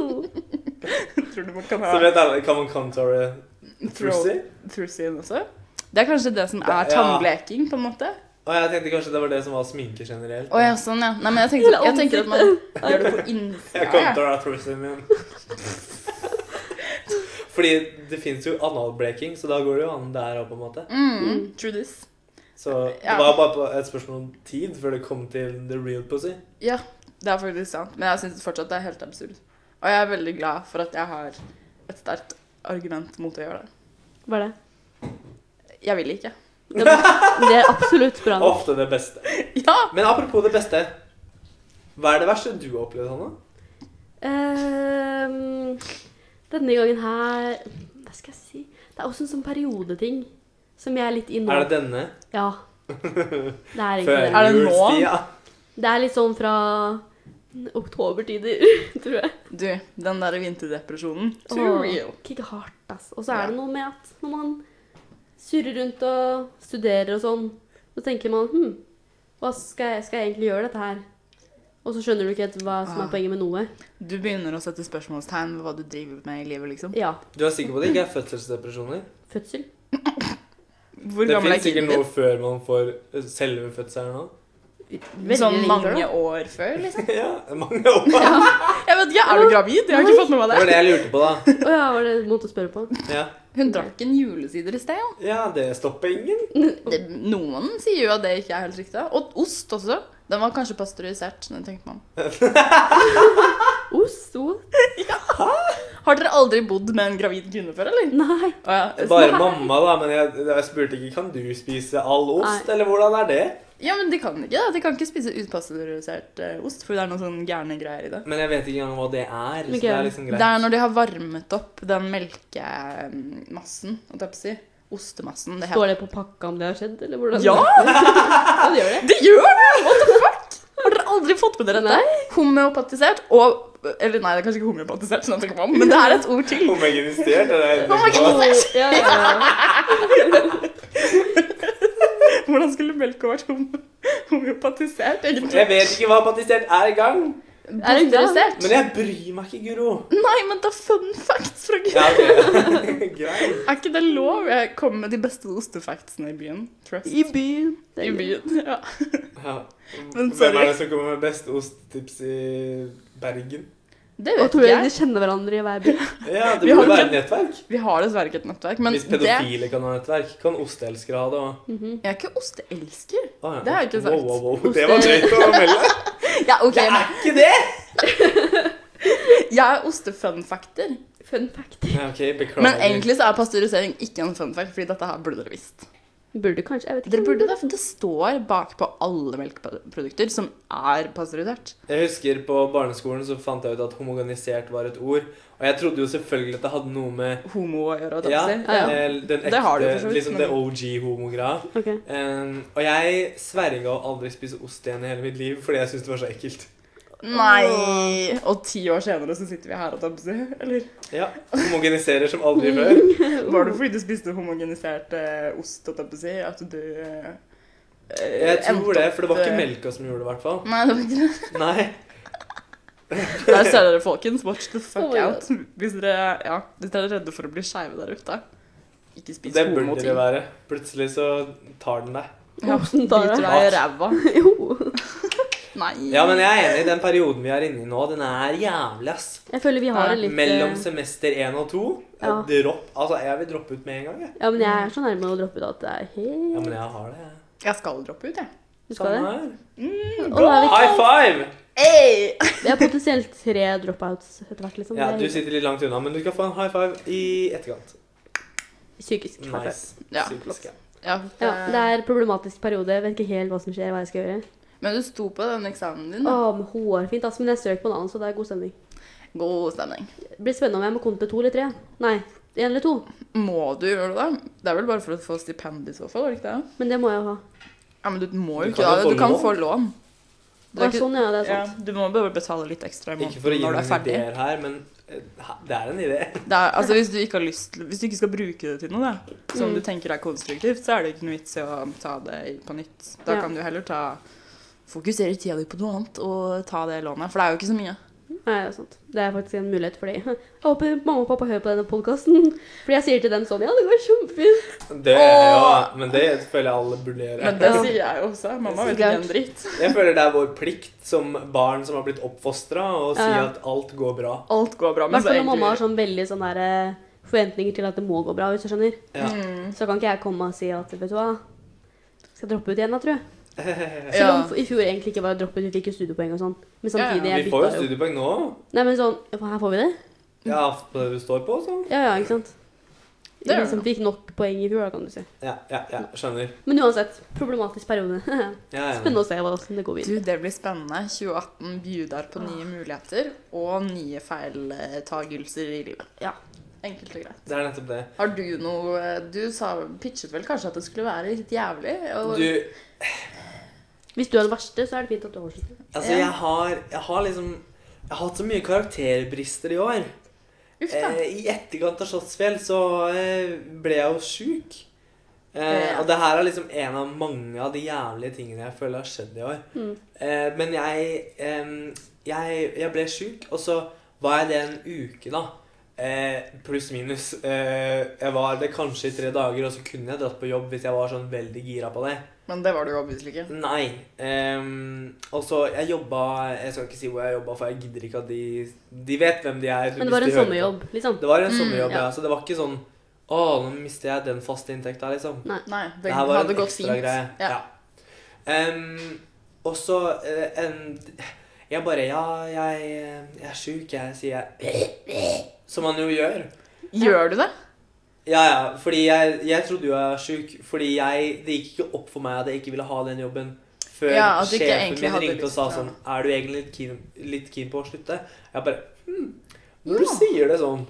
(laughs) Tror du man kan Så ha vet alle, kan man contoure throat throosy? pussyen også? Det er kanskje det som er Ja. tannbleking, på en måte. Og jeg tenkte kanskje det var det som var sminke generelt. Å ja, sånn ja. Nei, men jeg tenker, jeg tenker at man gjør det på Jeg innsida. contourer throosyen min. (laughs) Fordi det fins jo analbleking, så da går det jo an der òg, på en måte. Mm, true this. Så det Ja. var bare på et spørsmål om tid før det kom til the real pussy. Ja, det er faktisk sant. Men jeg syns fortsatt det er helt absurd. Og jeg er veldig glad for at jeg har et sterkt argument mot å gjøre det. Hva er det? Jeg vil ikke. Det er- Det er absolutt bra. nok. Ofte det beste. Ja! Men apropos det beste. Hva er det verste du har opplevd, Hanna? Ehm, denne gangen her Hva skal jeg si? Det er også en sånn periodeting som jeg er litt i nå. Er det denne? Ja. Det er Før egentlig det. Er det nå? julstida? Det er litt sånn fra oktobertider, (laughs) tror jeg. Du, den der vinterdepresjonen. Åh, Kick hardt, ass. Og så er det noe med at når man surrer rundt og studerer og sånn, så tenker man hm, hva skal jeg, skal jeg egentlig gjøre dette her? Og så skjønner du ikke helt hva som Ah. er poenget med noe. Du begynner å sette spørsmålstegn ved hva du driver med i livet, liksom. Ja. Du er sikker på det ikke er fødselsdepresjoner? Fødsel. Hvor Det gammel er fins sikkert kiden noe din? (laughs) før man får selve eh, fødselen òg. veldig sånn lenge før, mange da. år før, liksom. Ja, mange år. (laughs) Jeg vet ikke, Er du gravid? Jeg har ikke fått med meg Det var det. det jeg lurte på, da. Å ja, var det en måte å spørre på? Ja, Hun drakk en julesider i sted, jo. ja det stopper ingen. Det, noen sier jo at det ikke er helt riktig. Og ost også. Den var kanskje pasteurisert. når jeg tenker meg om. Ost? what? Har dere aldri bodd med en gravid kvinne før, eller? Nei. Å ja. Bare Nei. mamma, da. Men jeg, jeg spurte ikke kan du spise all ost, Nei. eller hvordan er det? ja, men de kan ikke det. De kan ikke spise upasteurisert eh, ost, for det er noen sånne gærne greier i det. Men jeg vet ikke engang hva det er. Så Ok. det er liksom Det er greit. når de har varmet opp den melkemassen, holdt jeg på å si. Ostemassen. Det, Står det på pakka om det har skjedd, eller hvordan? Ja! (laughs) Ja, det gjør det. det gjør det! What the fuck? Har dere aldri fått med dere dette? Homeopatisert og Eller nei, det er kanskje ikke homeopatisert, sånn at jeg tenker meg om, men det er et ord til. Homogenisert? Det er Oh my det God. Ja, ja, ja. Hvordan skulle melka vært hom- homeopatisert, egentlig? Jeg vet ikke hva patisert er engang. Er det bra? Pasteurisert? Men jeg bryr meg ikke, Guro. Nei, men da fun facts fra Gud. Ja, ok. (laughs) Greit. Er ikke det lov? Jeg kommer med de beste ostefactsene i byen. Trust. I byen. Det er I gøy. byen, ja. Ja. Men Hvem sorry. er det som kommer med best ostetips i Bergen? Det Og vet tror ikke jeg de jeg. kjenner hverandre i hver by. Ja, det Vi har burde være ikke- et nettverk. Vi har dessverre ikke et nettverk, men Hvis det pedofile kan ha nettverk, kan osteelskere ha det òg. Mhm. Jeg er ikke osteelsker. Å, ja. Det har jeg ikke sagt. Wow, wow, wow. Oste- Det var drøyt å melde. Ja, (laughs) ok. Det men er ikke det! Jeg er ostefunfacter. Fun fact. Ja, ok, beklager. Men egentlig så er pasteurisering ikke en funfact, fordi dette her burde dere visst. Burde kanskje Jeg vet ikke. Dere om burde det, for det står bakpå alle melkeprodukter som er pasteurisert. Jeg husker på barneskolen så fant jeg ut at homogenisert var et ord. Og jeg trodde jo selvfølgelig at det hadde noe med Homo å gjøre, og ja, tapser. Ja, ja. eh, den ekte, Det har du jo for så vidt, liksom men- det OG-homogreia. Ok. Um, og jeg sverga å aldri spise ost igjen i hele mitt liv fordi jeg syntes det var så ekkelt. Nei! Og ti år senere så sitter vi her og tapser, eller? Ja, Homogeniserer som aldri (laughs) før. Var det fordi du spiste homogenisert eh, ost, holdt jeg på å si, at du eh, Jeg endte tror det, for det var opp, eh, ikke melka som gjorde det, i hvert (laughs) fall. Nei, det var ikke det. Nei. Der ser dere, folkens. Watch the fuck Oh my out. Hvis dere, ja, hvis dere er redde for å bli skeive der ute, ikke spis Det burde homoting. det være. Plutselig så tar den deg. Ja, Hvordan biter tar jeg? deg i ræva. Jo. Nei. Ja, men jeg er enig. Den perioden vi er inne i nå, den er jævlig, ass. Jeg føler vi har Ja, en litt eh, Mellom semester 1 og 2. Ja. Dropp. Altså, jeg vil droppe ut med en gang, jeg. Ja, men jeg er så nærme å droppe ut at det er Ja, men helt jeg har det. jeg. Jeg skal droppe ut, jeg. Du skal Samme det? her. Og da er vi, High five! Hey! vi har potensielt tre dropouts etter hvert, liksom. Ja, Det du er sitter litt langt unna, men du skal få en high five i etterkant. psykisk. high five. Nice. Ja. Psykisk, ja. Ja, eh, Ja, det er problematisk periode. Jeg vet ikke helt hva som skjer, hva jeg skal gjøre. Men du sto på den eksamen din. Å, da. men hårfint, ass. Men jeg strøk på en annen, så det er god stemning. God stemning. Det blir spennende om jeg må komme til to eller tre. Nei, én eller to. Må du gjøre det? da? Det er vel bare for å få stipend i så fall? er det ikke det? Men det må jeg jo ha. Ja, men du må Du kan jo ikke da. jo få Du kan lån. få lån. Det er Ja, ikke- sånn, ja. Det er Ja, sant. du må bare betale litt ekstra i Ikke for å måneden gi når du er noen ferdig. ideer her, men eh, det er en idé. (laughs) Det er, altså, hvis, du ikke har lyst, til- hvis du ikke skal bruke det til noe, da, som Mm. du tenker er konstruktivt, så er det ikke noe vits i å ta det i- på nytt. Da Ja. kan du heller ta Fokusere tida di på noe annet og ta det lånet, for det er jo ikke så mye. Nei, det er sant. Det er faktisk en mulighet for det. (laughs) Jeg håper mamma og pappa hører på denne podkasten. (laughs) Fordi jeg sier til dem sånn Ja, det går kjempefint. Det, ja, men det føler jeg alle burde gjøre. Men det Ja. sier jeg jo også. Mamma Så vet ikke klart. en dritt. Jeg føler det er vår plikt som barn som har blitt oppfostra, å si Ja. at alt går bra. Alt går bra. I Men hvert så fall når mamma har egentlig sånn veldig sånn der eh, forventninger til at det må gå bra, hvis du skjønner. Ja. Mm. Så kan ikke jeg komme og si at vet du hva, skal droppe ut igjen, da, tror jeg. Selv Ja. om i fjor egentlig ikke var droppet, vi fikk jo studiepoeng og sånn. Men samtidig, Ja, jeg Vi får jo bytta jo. studiepoeng nå. Nei, men sånn Her får vi det? Ja, på det du står på, så. Ja ja, ikke sant? Det gjør Vi liksom det. fikk nok poeng i fjor, da, kan du si. Ja, ja, ja, skjønner. Men uansett, problematisk periode. Ja, ja. Spennende å se hvordan det går Du, videre. det blir spennende. 2018 bjuder på nye muligheter og nye feiltagelser i livet. Ja. Enkelt og greit. Det er nettopp det. Har du noe Du sa, pitchet vel kanskje at det skulle være litt jævlig? Og, Du, Hvis du er den verste, så er det fint at du oversetter. altså, jeg har, jeg har liksom Jeg har hatt så mye karakterbrister i år. Uff da. Eh, I etterkant av Slottsfjell så eh, ble jeg jo sjuk. Eh, Ja. og det her er liksom en av mange av de jævlige tingene jeg føler har skjedd i år. Mm. Eh, men jeg, em, jeg Jeg ble sjuk, og så var jeg det en uke, da. Eh, Pluss minus. Eh, jeg var det kanskje i tre dager, og så kunne jeg dratt på jobb hvis jeg var sånn veldig gira på det. Men det var det jo obviously ikke. Nei. ehm, og så Jeg jobba Jeg skal ikke si hvor jeg jobba, for jeg gidder ikke at de De vet hvem de er. hvis Men det var de en hører på. sommerjobb, liksom. Det var en Mm, sommerjobb, ja. ja. Så det var ikke sånn Å, nå mister jeg den faste inntekta, liksom. Nei, det, Det her var hadde en gått ekstra fint. greie. Ja. Ja. Em, og så eh, en Jeg bare Ja, jeg, eh, jeg er sjuk, jeg, sier jeg. Som man jo gjør. Gjør du det? Ja, ja. Fordi jeg, jeg trodde jo jeg var sjuk. Fordi jeg, det gikk ikke opp for meg at jeg ikke ville ha den jobben. Før Ja, at du ikke sjefen egentlig min hadde ringte og lyst, sa ja. sånn Er du egentlig litt keen, litt keen på å slutte? Jeg bare hm, Når Ja. du sier det sånn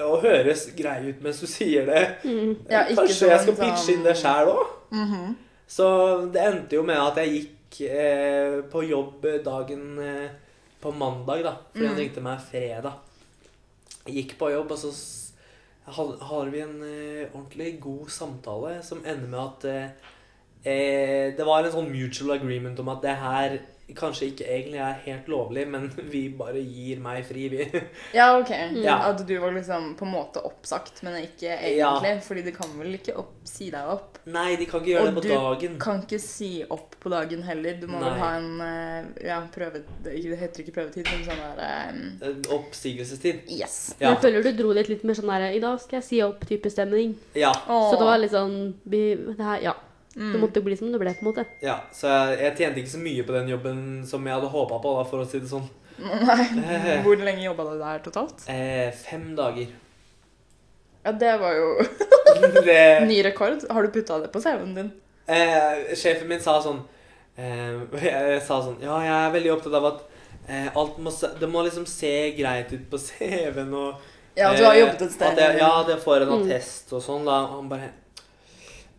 og høres grei ut mens du sier det Mm. Ja, ikke Kanskje jeg skal sånn som- pitche inn det sjæl òg? Mhm. Så det endte jo med at jeg gikk eh, på jobb dagen eh, på mandag, da. Fordi han Mm. ringte meg fredag. Jeg gikk på jobb, og så s- had- har vi en eh, ordentlig god samtale som ender med at eh, eh, Det var en sånn mutual agreement om at det her kanskje ikke egentlig er helt lovlig, men (laughs) vi bare gir meg fri, vi. (laughs) Ja, ok. Ja. At du var liksom på en måte oppsagt, men ikke Ja. egentlig. Fordi du kan vel ikke opp, si deg opp? Nei, de kan ikke gjøre det Og på du dagen. Kan ikke si opp på dagen heller. Du Nei. må vel ha en eh, ja, prøve... Det ikke- det heter ikke prøvetid, men sånn der eh, Eh, Oppsigelsestid. Yes. Men Ja. jeg føler du dro litt litt mer sånn der I dag skal jeg si opp-type stemning. ja. Så det var litt sånn vi- det her, Ja. Det mm. måtte bli som det ble, på en måte. Ja, så jeg, jeg tjente ikke så mye på den jobben som jeg hadde håpa på, da, for å si det sånn. (laughs) Nei. Hvor lenge jobba du der totalt? Eh, fem dager. (laughs) Ja, det var jo Det, ny rekord. Har du putta det på CV-en din? eh, sjefen min sa sånn eh, (laughs) Jeg sa sånn Ja, jeg er veldig opptatt av at eh, alt må, se- det må liksom se greit ut på (laughs) CV-en og Ja, du har Eh, jobbet et sted. At jeg, ja, at jeg får en Mm. attest og sånn, da. Og han bare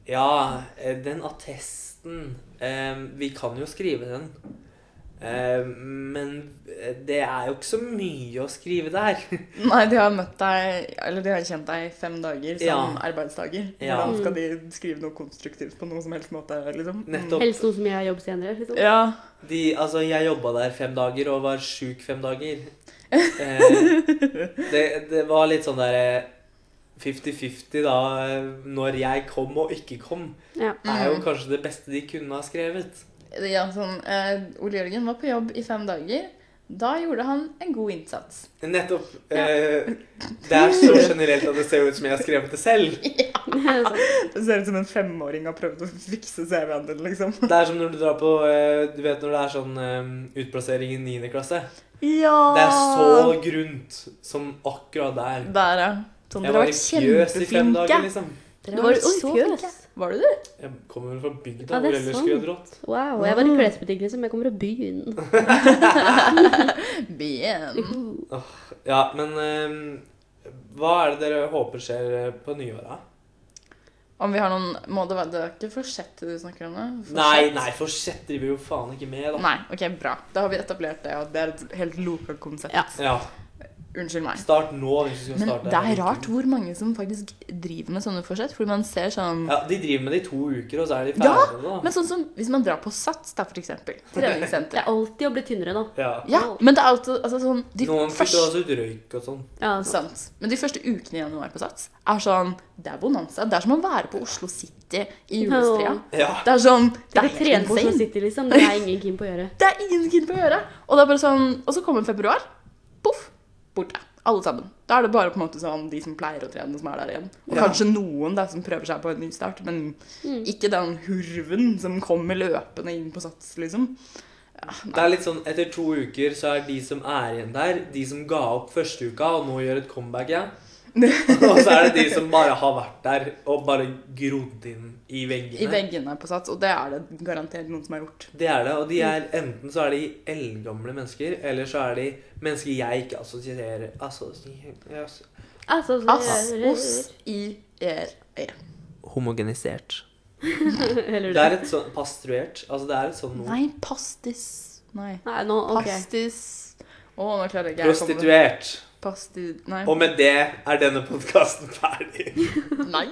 Ja, eh, den attesten eh, Vi kan jo skrive den. Eh, men eh, det er jo ikke så mye å skrive der. (laughs) Nei, de har møtt deg, eller de har kjent deg i fem dager som Ja. arbeidsdager. Ja. Hvordan skal de skrive noe konstruktivt på noen som helst måte, liksom? Mm. Nettopp. Helst noe som jeg jobber senere. liksom. Ja. De, altså, jeg jobba der fem dager og var sjuk fem dager. Eh, det, det var litt sånn der eh, 50-50 da, eh, når jeg kom og ikke kom, Ja. (laughs) er jo Mm. kanskje det beste de kunne ha skrevet. ja sånn, eh, Ole Jørgen var på jobb i fem dager. Da gjorde han en god innsats. Nettopp. Eh, det er så generelt at det ser ut som jeg har skrevet det selv. Så- Det ser ut som en femåring har prøvd å fikse CV-en din, liksom. Det er som når du drar på eh, Du vet når det er sånn eh, utplassering i 9. klasse. Ja! Det er så Ah. grunt som akkurat der. Der, ja. Sånn, Jeg dere har var i fjøs vært i fem kjempeflinke. dager, liksom. Du Dere har var vært jo i så flinke. fjøs. Var du det? Jeg kommer vel fra bygda Ja, det hvor er ellers skulle jeg sant. dratt. Wow. Jeg var i klesbutikk, liksom. Jeg kommer fra byen. Bien. Uh. Ja, men eh, hva er det dere håper skjer eh, på nyåret? Om vi har noen Må det være Det er ikke forsettet du snakker om? det? Forsett? Nei, nei, for sjett driver jo faen ikke med, da. Nei, ok, bra. Da har vi etablert det, og det er et helt loka konsept. Ja. Ja, Unnskyld meg. Start nå hvis du skal Men starte. det er rart hvor mange som faktisk driver med sånne forsett, fordi man ser sånn Ja, De driver med det i to uker, og så er de Ja, ferdige med det. Men sånn som hvis man drar på Sats, da, for eksempel. (laughs) Det er Treningssenter. alltid å bli tynnere, da. da. Ja. Ja, men det er alltid altså, sånn de Noen kutter første, også ut røyk og sånn. Ja, så. sant. Men de første ukene i januar på Sats er sånn Det er bonanza. Det er som å være på Oslo City i julestria. Ja. Det er sånn Det Det er er trene helt på Oslo insane. City, liksom. Det er ingen keen på å gjøre. (laughs) Det er ingen kid på å gjøre. Og det er bare sånn, og så kommer februar. Poff. Borte. Alle sammen. Da er det bare på en måte sånn de som pleier å trene, som er der igjen. Og Ja. kanskje noen da, som prøver seg på en ny start, men Mm. ikke den hurven som kommer løpende inn på sats, liksom. (laughs) Ja, Det nei. er litt sånn, Etter to uker så er de som er igjen der, de som ga opp første uka og nå gjør et comeback (laughs) igjen. og så er det de som bare har vært der og bare grodd inn i veggene. I veggene på sats, og det er det garantert noen som har gjort. Det er det, og de er enten så er de eldgamle mennesker, eller så er de mennesker jeg ikke assosierer assosierer- ass- Altså, så- Ass, os, i, er, e. Homogenisert. Eller Det er et sånn pastruert. Altså, det er et sånn ord. Nei, pastis. Nei. Nei, nå, ok. Pastis. Å, nå klarer jeg ikke jeg å komme på det. Prostituert. Pasti... Nei. Og med det er denne podkasten ferdig. Nei.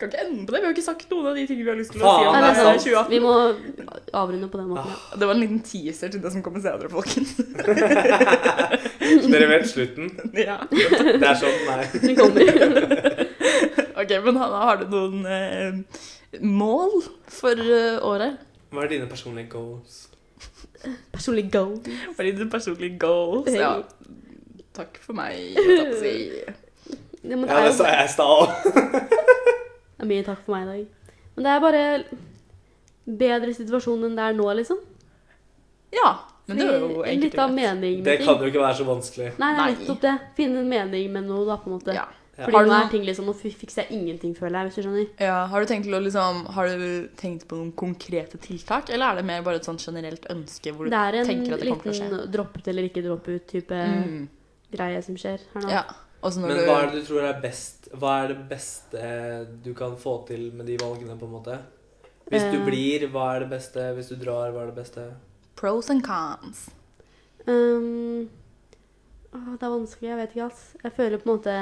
Kan ikke ende på det. Vi har jo ikke sagt noen av de tingene vi har lyst til å Faen, si. om Nei, det er denne sant. Ah. 2018. Vi må avrunde på den måten, ja. Det var en liten teaser til det som kommer senere, folkens. (laughs) Dere vet slutten. ja. Det er sånn, nei. (laughs) Den kommer. Ok, men Hanna, har du noen eh, mål for eh, året? Hva er dine personlige goals? Personlig goal. Hva er dine personlige goals? Hey. Ja. Takk for meg. holdt jeg på å si. Ja, men det Ja, er det jo sa jeg i stad. det er mye takk for meg i dag. Men det er bare bedre situasjon enn det er nå, liksom. (laughs) Ja, men det er jo Fordi egentlig Litt av mening med Det ting. kan jo ikke være så vanskelig. Nei, det er Nei. nettopp det. Finne en mening med noe, da, på en måte. Ja. Ja. Fordi Har du nå noe- er ting liksom Nå fi- fikser jeg ingenting, føler jeg, hvis du skjønner. Ja, har du tenkt til å liksom Har du tenkt på noen konkrete tiltak, eller er det mer bare et sånn generelt ønske hvor du Det er en tenker at det kommer til å skje? liten droppe ut eller ikke droppe ut-type Mm. greie som skjer her nå. Ja. Og så når Men du hva er det du tror er best? Hva er det beste du kan få til med de valgene, på en måte? Hvis du Eh. blir, hva er det beste? Hvis du drar, hva er det beste? Pros and cons. Um, åh, det er vanskelig. Jeg vet ikke, altså. Jeg føler på en måte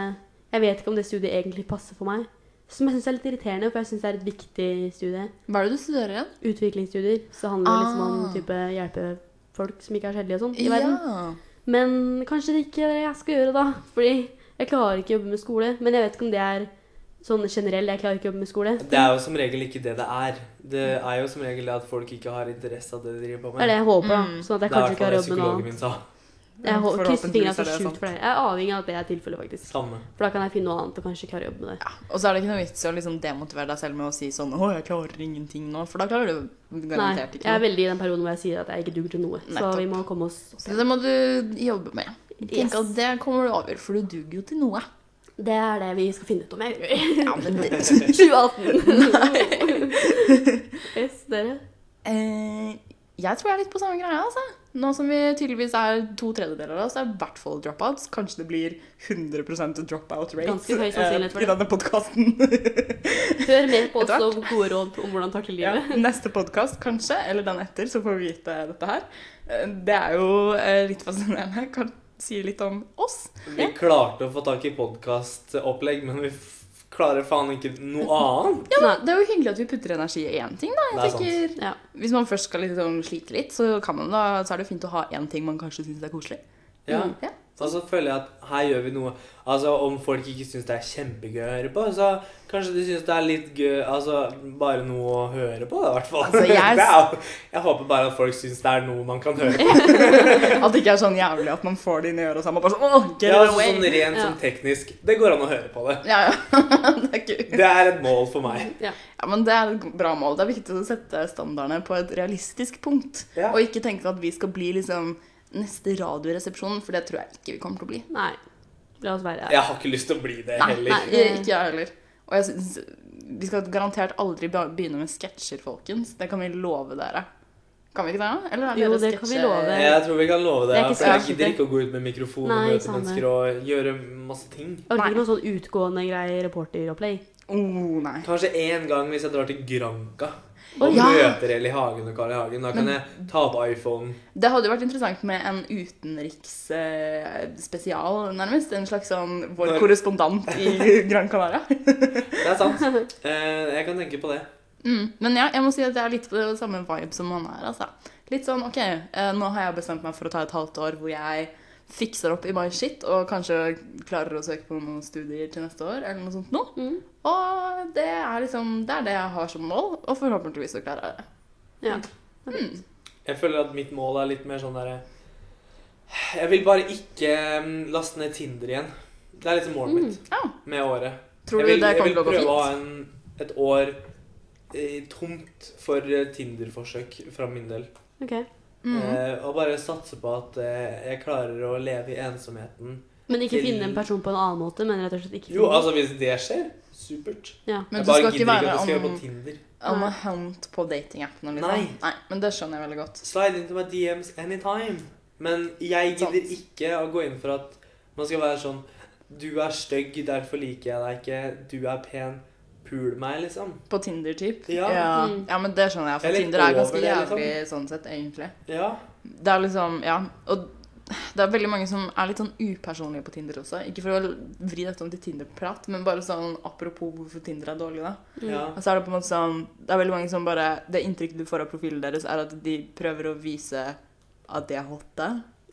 Jeg vet ikke om det studiet egentlig passer for meg. Som jeg syns er litt irriterende, for jeg syns det er et viktig studie. Hva er det du studerer igjen? Utviklingsstudier. Så det handler jo liksom Ah. om type hjelpefolk som ikke er skjellige og sånn i verden. Ja. Men kanskje det ikke er det jeg skal gjøre, da. Fordi jeg klarer ikke å jobbe med skole. Men jeg vet ikke om det er sånn generell. Jeg klarer ikke å jobbe med skole. Det er jo som regel ikke det det er. Det er jo som regel det at folk ikke har interesse av det de driver på Det er med. det jeg håper, da. Mm. Sånn at Det er jeg i hvert kanskje ikke fall det har jobbet med psykologen noe. min sa. Jeg hå- krysser Forhåpentligvis fingrene er så det sjukt sant. for det. Jeg er avhengig av at det er tilfellet, faktisk. Samme. For da kan jeg finne noe annet og kanskje ikke har jobb med det. Ja, og så er det ikke noe vits i å liksom demotivere deg selv med å si sånn 'Å, jeg klarer ingenting nå', for da klarer du Nei, garantert jeg ikke er noe. veldig i den perioden hvor jeg sier at jeg ikke duger til noe. Så Nettopp. vi må komme oss opp Så det må du jobbe med. Tenk at igjen. det kommer du over, for du duger jo til noe. Det er det vi skal finne ut (laughs) om jeg gjør. (laughs) Ja, men det... 2018. yes, dere. eh, jeg tror jeg er litt på samme greia, altså. Nå som vi tydeligvis er to tredjedeler av oss, er i hvert fall dropouts. Kanskje det blir 100 dropout rate Ganske høy eh, sannsynlighet for i det. denne podkasten. (laughs) Hør mer på oss Etter og gode råd om hvordan takle Ja, (laughs) livet. neste podkast, kanskje, eller den etter, så får vi vite dette her. Eh, Det er jo eh, litt fascinerende. Kan si litt om oss. Vi klarte å få tak i podkastopplegg, men vi f klarer faen ikke noe annet. Ja, Nei. men Det er jo hyggelig at vi putter energi i én ting, da. Det er Jeg sant. tenker, Ja. Hvis man først skal liksom slite litt, så, kan man da, så er det jo fint å ha én ting man kanskje syns er koselig. Mm. Ja. Ja. Og så føler jeg at her gjør vi noe Altså Om folk ikke syns det er kjempegøy å høre på, så kanskje de syns det er litt gøy Altså bare noe å høre på, da, i hvert fall. Altså, (laughs) jeg- Det er jo- jeg håper bare at folk syns det er noe man kan (laughs) høre på. At det ikke er sånn jævlig at man får det inn i øret og så er man bare sånn Åh, get Ja, it altså, away! sånn rent sånn teknisk. Det går an å høre på det. Ja, ja. (laughs) det er gøy. Det er et mål for meg. Ja. Ja, men det er et bra mål. Det er viktig å sette standardene på et realistisk punkt. Ja. Og ikke tenke at vi skal bli liksom neste Radioresepsjon, for det tror jeg ikke vi kommer til å bli. Nei. La oss være her. Jeg har ikke lyst til å bli det Nei, heller. nei jeg- ikke jeg heller. Og jeg synes, vi skal garantert aldri be- begynne med sketsjer, folkens. Det kan vi love dere. Kan vi ikke det? da? Eller er Jo, dere det kan vi sketsje- love. Jeg tror vi kan love det. Det er ikke for jeg sikkert. gidder ikke å gå ut med mikrofon og Nei, møte samme. mennesker og gjøre masse ting. Jeg orker Nei. ikke noe sånn utgående greie reporteropplegg. Oh, nei. Kanskje én gang hvis jeg drar til Granca Å, og ja. møter Eli Hagen og Carl I. Hagen. Da kan jeg ta opp iPhonen. Det hadde jo vært interessant med en utenriks eh, spesial, nærmest. En slags sånn vår Når- korrespondent i (laughs) Gran Canaria. Det er sant. (laughs) Eh, jeg kan tenke på det. Mm. Men ja, jeg må si at jeg er litt på det samme vibe som han er, altså. Litt sånn, ok, eh, nå har jeg bestemt meg for å ta et halvt år hvor jeg fikser opp i my shit, og kanskje klarer å søke på noen studier til neste år, eller noe sånt nå. Mm. Og det er liksom, det er det jeg har som mål, og forhåpentligvis så klarer jeg det. Ja. Jeg føler at mitt mål er litt mer sånn derre Jeg vil bare ikke mm, laste ned Tinder igjen. Det er liksom målet mitt Ja, med året. Mm. Ah. tror jeg du vil, det jeg kommer vil til å gå prøve å ha fint? en, et år eh, tomt for eh, Tinder-forsøk fra min del. Ok. Mm. Eh, og bare satse på at eh, jeg klarer å leve i ensomheten. Men ikke Til- finne en person på en annen måte, men rett og slett ikke Jo, finne- altså hvis det skjer, supert. ja. Men jeg du bare gidder skal ikke ikke at være du skal on, være på Tinder. on a hunt på datingappene, liksom? Nei. Nei, men det skjønner jeg veldig godt. Slide into my DMs anytime. Men jeg Sant. gidder ikke å gå inn for at man skal være sånn Du er stygg, derfor liker jeg deg ikke. Du er pen. Pul meg, liksom. På Tinder, typ? Ja. Ja, Mm. ja men det skjønner Jeg jeg, er for litt Tinder er over ganske det, liksom. jævlig sånn sett, egentlig. Ja. Det er liksom, ja. Og det er veldig mange som er litt sånn upersonlige på Tinder også. Ikke for å vri dette om til Tinder-prat, men bare sånn apropos hvorfor Tinder er dårlig, da. Mm. ja. Og så er det på en måte sånn Det er veldig mange som bare Det inntrykket du får av profilen deres, er at de prøver å vise at de er hotte,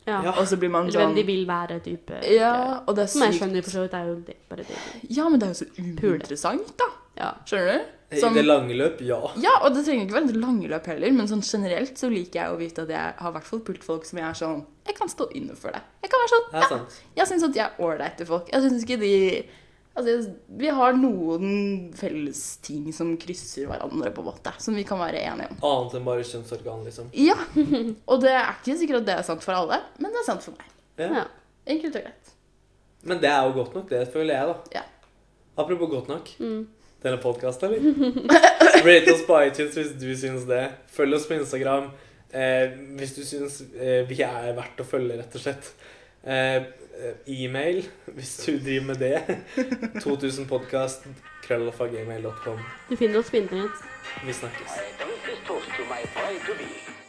ja. Ja. og så blir man Eller sånn hvem de vil være, type. Ja, og det er Som jeg skjønner, for sykt så vidt. Det er jo det, bare det. Ja, men det er jo så Pule. uinteressant, da. Ja. Skjønner du? Som- I det lange løp, ja. Ja, og det trenger ikke være et langløp heller, men sånn generelt så liker jeg å vite at jeg har i hvert fall pult folk som jeg er sånn Jeg kan stå inne for det. Jeg kan være sånn Det er sant. Jeg syns at jeg er ålreit til folk. Jeg syns ikke de Altså, vi har noen felles ting som krysser hverandre, på en måte, som vi kan være enige om. Annet enn bare kjønnsorgan, liksom. Ja. Og det er ikke sikkert at det er sant for alle, men det er sant for meg. Ja. Ja. Enkelt og greit. Men det er jo godt nok, det føler jeg, da. Ja. Apropos godt nok. Mm. Denne podkasten, eller? (laughs) Rate oss på iTunes hvis du syns det. Følg oss på Instagram eh, hvis du syns eh, vi er verdt å følge, rett og slett. Eh, eh, E-mail hvis du driver med det. (laughs) 2000podcast krøllofagmail.com. Du finner oss på internett. Vi snakkes. I don't dispose to my pride to be.